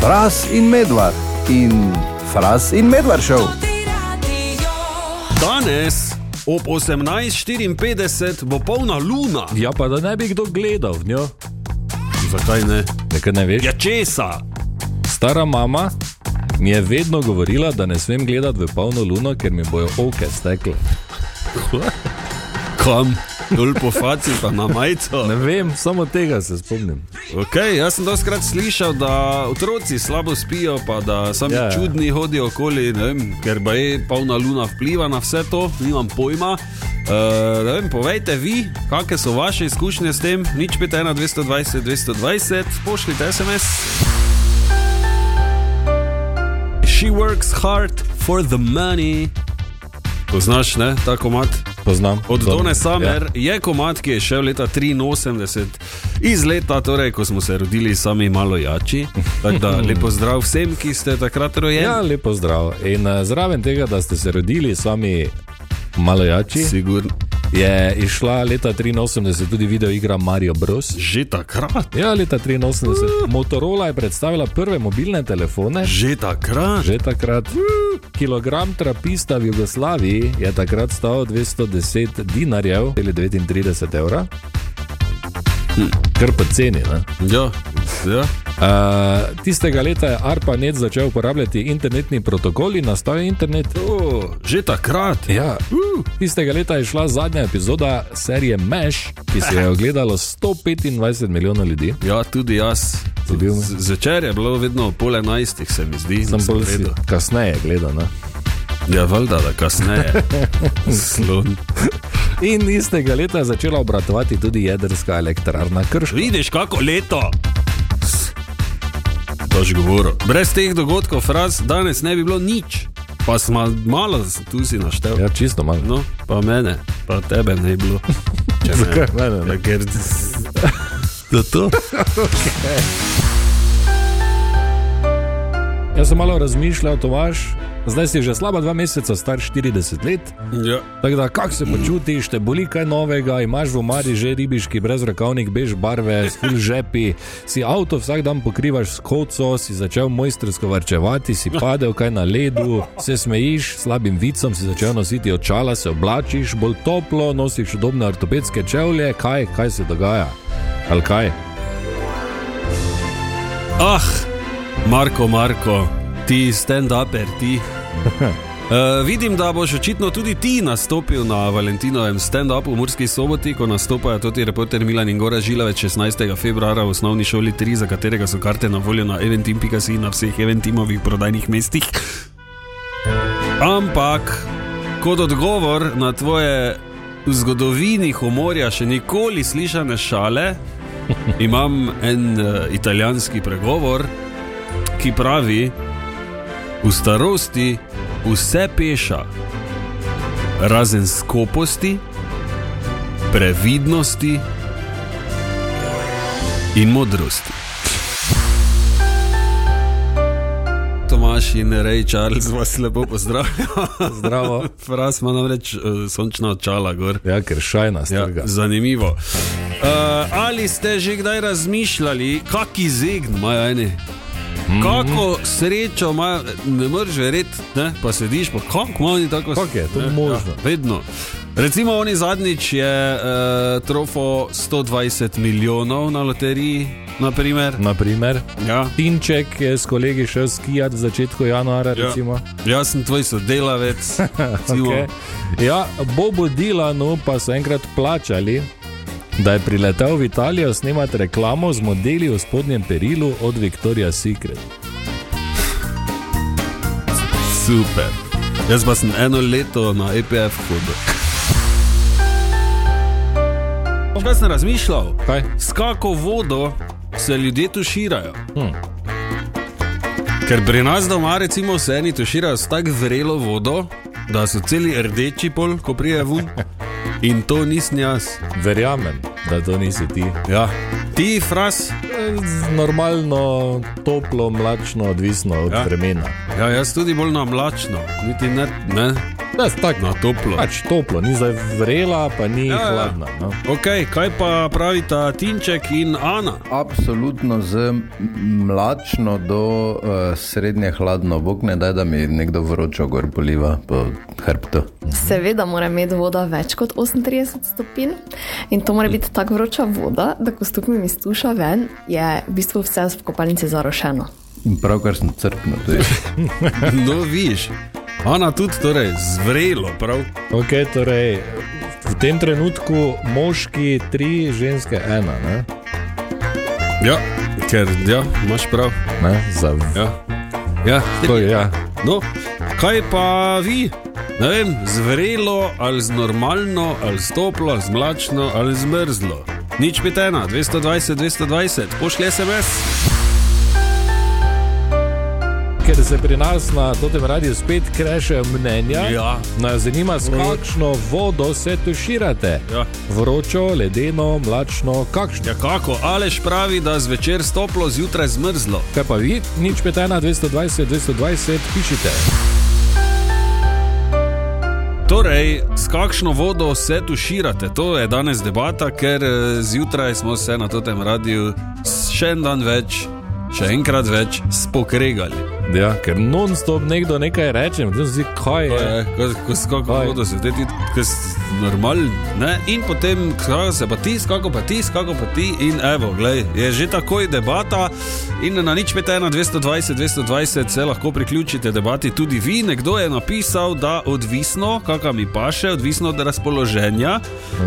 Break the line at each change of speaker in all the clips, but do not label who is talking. Fras in medvard in Fras in medvard šel.
Danes ob 18:54 bo polna luna.
Ja, pa da ne bi kdo gledal v njo.
Zakaj ne?
Nekaj ne veš.
Ja, česa?
Stara mama mi je vedno govorila, da ne smem gledati v polno luno, ker mi bojo oke stekle.
Kam? Dol po faci, pa na majico.
Ne vem, samo tega se spomnim.
Okay, jaz sem doskrat slišal, da otroci slabo spijo, pa da sami
Ja,
yeah.
ja.
čudni hodijo okoli, ne vem, ker pa je polna luna vpliva na vse to, nimam pojma. Uh, vem, povejte vi, kakšne so vaše izkušnje s tem, nič 51, 220, 220, pošljite SMS. She works hard for the money. Poznaš, ne, ta komat?
Poznam.
Od
Dobro.
Done Summer
Ja.
ja. je komat, ki je šel leta 83, iz leta, torej, ko smo se rodili sami malo jači. Tako da lepo zdrav vsem, ki ste takrat rojeni.
Ja, lepo zdrav. In eh, zraven tega, da ste se rodili sami malo jači,
Sigurno.
je išla leta 83 tudi videoigra Mario Bros.
Že takrat,
Ja, leta
Mm.
83. Motorola je predstavila prve mobilne telefone.
že takrat.
Že takrat. Kilogram trapista v Jugoslaviji je takrat stal 210 dinarjev ali 39 evra. Hm, Kar po ceni. Ne?
Ja, ja.
Uh, tistega leta je ARPANET začel uporabljati internetni protokol in nastal je internet.
O, že takrat.
Ja. Tistega leta je šla zadnja epizoda serije Mesh, ki se je ogledalo 125 milijonov ljudi.
Ja, tudi jaz.
Si bil?
Z- Zvečer je bilo vedno ob pol enajstih, se mi zdi.
Sem bolj si-
vedel.
kasneje gledal. Ne?
Ja, valjda, da kasneje. Slon.
In istega leta je začela obratovati tudi jedrska elektrarna Krško.
Vidiš, kako leto. Tož govoril. Brez teh dogodkov, fraz, danes ne bi bilo nič. Pa smo malo, s- tu si naštel.
Ja, čisto malo.
No, pa mene, pa tebe ne bi bilo. Če ne.
Zakaj mene ne?
Ja, Ker... Zato?
Jaz sem malo razmišljal, Tomaš, zdaj si že slaba dva meseca star 40 let.
Ja.
Tako da, kako se počutiš, te boli kaj novega, imaš v omari že ribiški brezrokavnik, bež barve, skuž žepi, si avto vsak dan pokrivaš s koco, si začel mojstrsko varčevati, si padel kaj na ledu, se smejiš, slabim vicom si začel nositi očala, se oblačiš, bolj toplo, nosiš udobne ortopedske čevlje, kaj, kaj se dogaja? Ali kaj?
Ah, Marko, Marko, ti stand-uper, ti. Uh, vidim, da boš očitno tudi ti nastopil na Valentinovem stand-upu v Murski soboti, ko nastopajo tudi reporter Milan in Gora Žilavec 16. februarja v osnovni šoli 3, za katerega so karte na voljo na eventim.si na vseh eventimovih prodajnih mestih. Ampak, kot odgovor na tvoje v zgodovini humorja še nikoli slišane šale, imam en uh, italijanski pregovor, ki pravi: V starosti vse peša, razen skoposti, previdnosti in modrosti. Tomaš in Rej Charles vas lepo pozdravlja.
Zdravo.
Fras ima namreč uh, sončna očala, gor.
Ja, ker šajna
Ja,
strga.
zanimivo. Uh, ali ste že kdaj razmišljali, kaki zegn imajo eni?
Mhm.
Kako srečo ima, ne moreš verjeti, ne, pa sediš, pa kako ima oni tako
Kako je to
ne,
možno?
Ja, vedno. Recimo, oni zadnjič je uh, trofo 120 milijonov na loteriji, naprimer.
Naprimer,
Ja.
Tinček je s kolegi šel skijati v začetku januarja.
Ja.
Recimo.
Jaz sem tvoj sodelavec, recimo.
Okay. Ja, Bobu Dilanu pa so enkrat plačali, da je priletel v Italijo snemati reklamo z modeli v spodnjem perilu od Victoria's Secret.
Super. Jaz pa sem eno leto na EPF hodil. Kaj sem razmišljal?
Kaj?
S kako vodo se ljudje tuširajo?
Hm.
Ker pri nas doma, recimo, se eni tuširajo s tako vrelo vodo, da so celi rdeči pol, ko prije vun. In to nisem jaz.
Verjamem, da to nisi ti.
Ja. Ti, fras,
Eh, z- Normalno, toplo, mlačno, odvisno od
Ja.
ja. vremena.
ja, jaz tudi bolj na mlačno, niti ne, ne.
Da, tako
na toplo.
Pač toplo, ni zdaj vrela, pa ni
Ja,
ja,
ja.
hladna. No.
Ok, kaj pa pravita Tinček in Ana?
Absolutno z mlačno do uh, srednje hladno, bog ne daj, da mi nekdo vročo gor poliva po hrbtu.
Seveda mora imeti voda več kot 38 stopinj in to mora biti tako vroča voda, da ko stopim iz tuša ven, je v bistvu vse v kopalnici zarošeno.
In pravkar sem crknil tudi.
No, viš. Ana tudi, torej, zvrelo, prav.
Okay, torej, v tem trenutku moški tri, ženske ena. Ne?
Ja, ker, ja, imaš prav.
Ne? Za,
Ja. Ja.
to, je, ja.
No, kaj pa vi? Ne vem, zvrelo ali z normalno, ali z toplo, z mlačno ali z mrzlo. Nič pitena, 220, 220, pošlje SMS.
Ker se pri nas na tem radiju spet krešejo mnenja,
Ja.
nas zanima, s kakšno vodo se tuširate.
Ja.
Vročo, ledeno, mlačno, kakšno.
Ja, kako, Aleš pravi, da zvečer s toplo, zjutraj zmrzlo.
Kaj pa vi, nič petena, 220, 220, pišite.
Torej, s kakšno vodo se tuširate? To je danes debata, ker eh, zjutraj smo se na tem radiju še en dan več, še enkrat več spokregali.
Ja, ker non-stop nekdo nekaj reče, potem si kaj
To
je.
je, Ja, ko- ko- S kakšno
Kaj?
vodo se vdeti, normalno. In potem, kako se pa ti, s kako pa ti, s kako pa ti. In evo, glej, je že takoj debata. In na nič pete na 220, 220 se lahko priključite debati tudi vi. Nekdo je napisal, da odvisno, kakor mi paše, odvisno od razpoloženja.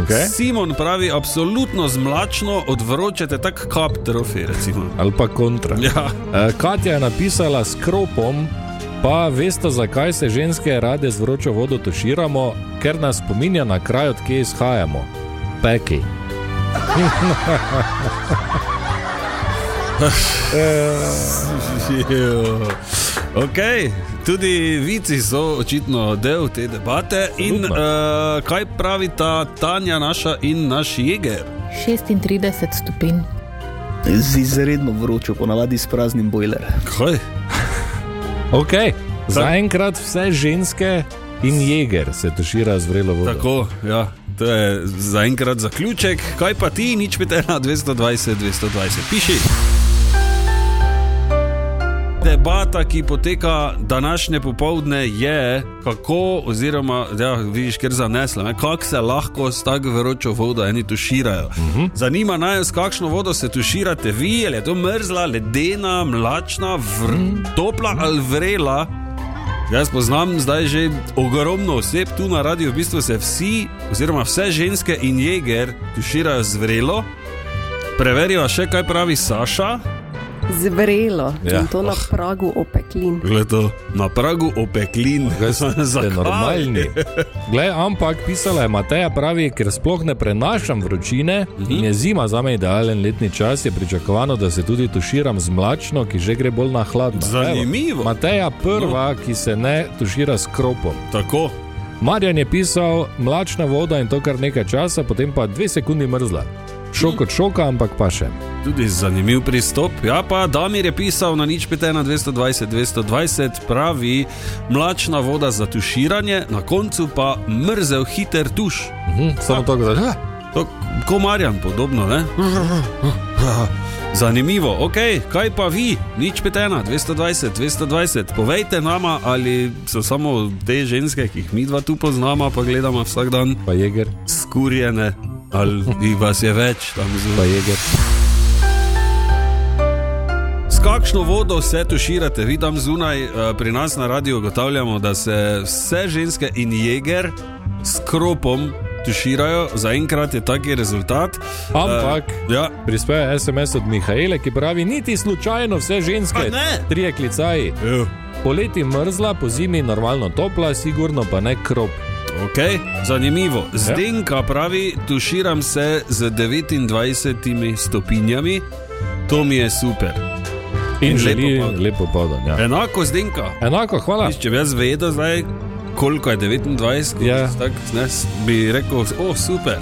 Okej.
Simon pravi, absolutno zmlačno odvročete tak kap trofej, recimo.
Ali pa kontra.
Ja,
Eh, Katja je napisala s kropom, pa veste, zakaj se ženske rade z vročo vodo tuširamo, ker nas spominja na kraj, odkje izhajamo. Peki.
Ok, tudi vici so očitno del te debate. In uh, kaj pravita Tanja, naša in naš jeger?
36 stopinj.
Z izredno vročo, ponavadi s praznim bojlerjem.
Kaj?
Ok, zaenkrat vse ženske in jeger se tušira z vrelo vodo.
Tako, ja, to je zaenkrat zaključek. Kaj pa ti, nič pete na 220, 220, piši. Debata, ki poteka današnje popovdne, je kako, oziroma, ja, vidiš, ker zanesla, kako se lahko s tako vročo vodo eni tuširajo. Uh -huh. Zanima nas, s kakšno vodo se tuširate vi, ali je to mrzla, ledena, mlačna, vr, topla ali vrela. Jaz poznam zdaj že ogromno oseb tu na radiju, v bistvu se vsi, oziroma vse ženske in jeger, tuširajo zvrelo. Preveriva še, kaj pravi Saša.
Zvrelo
Ja,
ja. in to na pragu opeklin.
Gledo, na pragu opeklin,
Kaj ste
Zakaj?
normalni? Glej, ampak pisala je Mateja, pravi, ker sploh ne prenašam vročine in je zima za me idealen letni čas, je pričakovano, da se tudi tuširam z mlačno, ki že gre bolj na hladno.
Zanimivo.
Evo, Mateja prva, ki se ne tušira s kropom.
Tako.
Marjan je pisal mlačna voda in to kar nekaj časa, potem pa dve sekundi mrzla. Šok od šoka, ampak pa še.
Tudi zanimiv pristop. Ja, pa Damir je pisal na nič 5, 220, 220, pravi mlačna voda za tuširanje, na koncu pa mrzel hiter tuš.
Mhm, samo tako, da je.
To komarjan podobno, ne? Zanimivo, ok, kaj pa vi, nič petena, 220, 220, povejte nama, ali so samo te ženske, ki jih mi dva tu poznamo, pa gledamo vsak dan,
Pa jeger,
skurjene, ali jih vas je več tam
pa
zunaj.
jeger.
S kakšno vodo se tuširate, vi tam zunaj, eh, pri nas na radiju ugotavljamo, da se vse ženske in jeger s kropom tuširajo, zaenkrat je taki rezultat.
Ampak.
Eh, ja,
Prispeje SMS od Mihajla, ki pravi: Niti slučajno vse
A
ženske,
ne? Ja.
trije klicaji.
Ev.
Poleti mrzla, po zimi normalno topla, sigurno pa ne krop.
Okay, zanimivo.
Ja.
Zdenka pravi, tuširam se z 29 stopinjami, to mi je super.
Ja. In,
In
in želi
lepo podan.
lepo podan. Ja.
Enako zdenka.
Enako, hvala.
Če bi jaz vedel, zdaj, koliko je 29,
Ja.
yeah. tak, ne, s- bi rekel, o, super.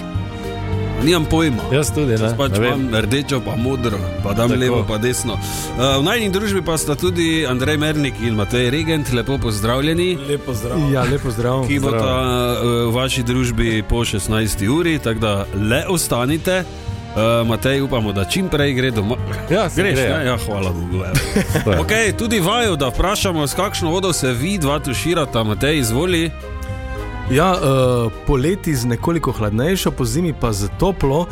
nimam pojma.
Jaz tudi Ja, ne.
Jaz pač
ne vem.
imam rdečo, pa modro, pa dam
Tako.
Tako. levo, pa desno. Uh, v najni družbi pa sta tudi Andrej Mernik in Matej Regent, lepo pozdravljeni.
Lepo zdrav.
Ja, lepo zdrav.
Ki bo
Zdrav.
ta uh, v vaši družbi po 16. uri, tako da le ostanite. Uh, Matej, upamo, da čim prej gre domov.
Ja, se
Greš,
gre, ja.
ne? Ja, hvala Bogu. evo. okay, tudi vaju, da vprašamo, s kakšno vodo se vi dva tuširata, Matej, izvoli.
Ja, uh, poleti z nekoliko hladnejšo, po zimi pa z toplo, uh,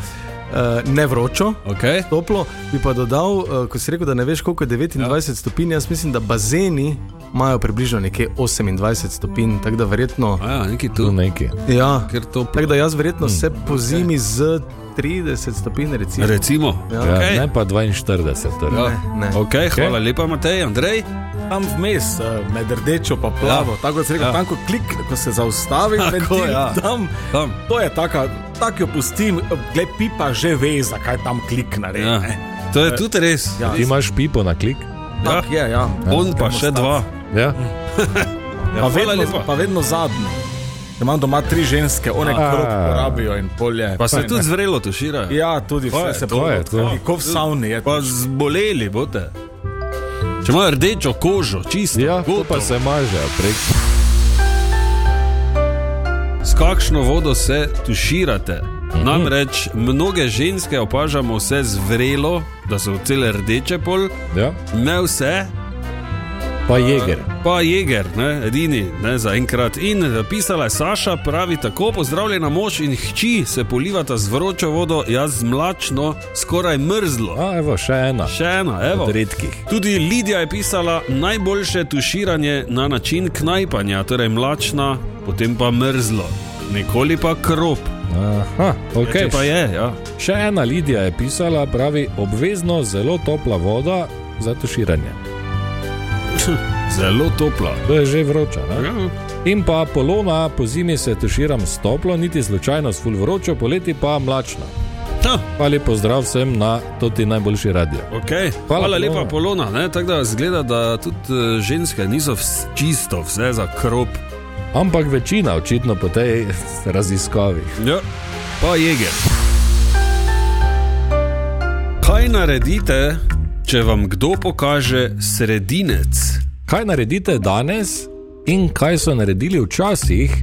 ne vročo.
Okay.
Toplo bi pa dodal, uh, ko si rekel, da ne veš, koliko je 29 ja. stopinj. Jaz mislim, da bazeni imajo približno nekje 28 stopinj, tako da verjetno.
A ja, neki
Tu
tu.
nekaj.
Ja,
Ker to Hm.
tako da jaz verjetno se po zimi z 30 stopinj recimo.
Recimo.
Ja.
Ja,
Okej.
okay. Ne pa 42. Torej.
Ja.
Ne, ne.
Okay, okay. Hvala lepa, Matej, Andrej.
Tam vmes, eh, med rdečo in plavo, ja. tako kot se reče,
Ja.
ja. tam ko klik, ko se zaustavi,
Tako,
ventil,
ja.
tam,
Tam.
to je taka, tak jo pustim, gled pipa že ve, zakaj tam klik naredi.
Ja.
Ja.
To je tudi res.
Ja.
Ti imaš pipo na klik.
Tak je, ja.
On pa še dva.
Ja?
Pa vedno,
lepa.
pa vedno zadnji. Ja, Imam doma tri ženske, one
A.
krog porabijo in polje.
Pa se tudi zrelo tuširajo.
Ja, tudi
To je,
vse se
to
je, to je.
Kot v savni je.
Pa zboleli boste. Če imajo rdečo kožo, čisto.
ja, to
gotovo.
pa se maže prek.
S kakšno vodo se tuširate? Namreč mnoge ženske opažamo vse zvrelo, da so cele rdeče pol,
Ja?
ne vse,
Pa
Ja.
jeger.
pa jeger, ne, edini, ne, za enkrat. In eh, pisala je Saša, pravi tako: Pozdravljena mož in hči se polivata z vročo vodo, jaz z mlačno, skoraj mrzlo.
A, evo, še ena.
Še ena, evo.
Od redkih.
Tudi Lidija je pisala najboljše tuširanje na način knajpanja, torej mlačna, potem pa mrzlo, nikoli pa krop.
Aha,
Okay. Če
okay.
pa je, ja.
Še ena Lidija je pisala, pravi, obvezno zelo topla voda za tuširanje.
zelo topla. Ja.
To je že vroča. Ne? In pa polona, po zimi se tuširam s toplo, niti slučajno s ful vročo, poleti pa mlačna.
Ha,
Pa lepo zdrav vsem na to ti najboljši radio.
okay. Hvala, Hvala
Polona.
lepa, Polona. ne, Tako da zgleda, da tudi eh, ženske niso vs- čisto vse za krop.
Ampak večina očitno po tej raziskavi.
Ja. Pa jege. Kaj naredite, če vam kdo pokaže sredinec?
Kaj naredite danes in kaj so naredili včasih?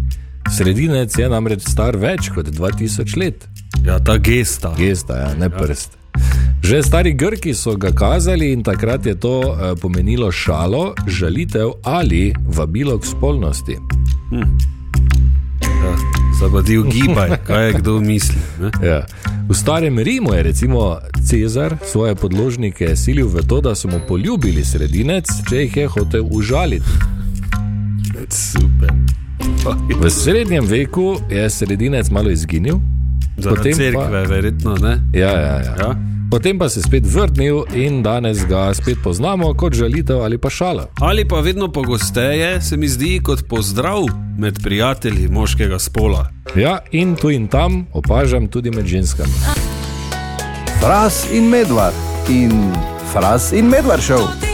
Sredinec je namreč star več kot 2000 let.
Ja, ta gesta.
Gesta, ja, ne prst. Že stari Grki so ga kazali in takrat je to eh, pomenilo šalo, žalitev ali vabilo k spolnosti.
Zabadil gibaj, kaj je kdo misli. Ne?
Ja. V starem Rimu je recimo Cezar svoje podložnike silil v to, da so mu poljubili sredinec, če jih je hotel užaliti.
Super.
V srednjem veku je sredinec malo izginil,
Zaradi
Potem pa-
cerkve, verjetno ne.
ja, ja, ja.
Ja.
potem pa se je spet vrnil in danes ga spet poznamo kot žalitev ali pa šala.
Ali pa vedno pogosteje se mi zdi kot pozdrav med prijatelji moškega spola.
Ja, in tu in tam opažam tudi med ženskami.
Fras in medvard in fras in medvard šel.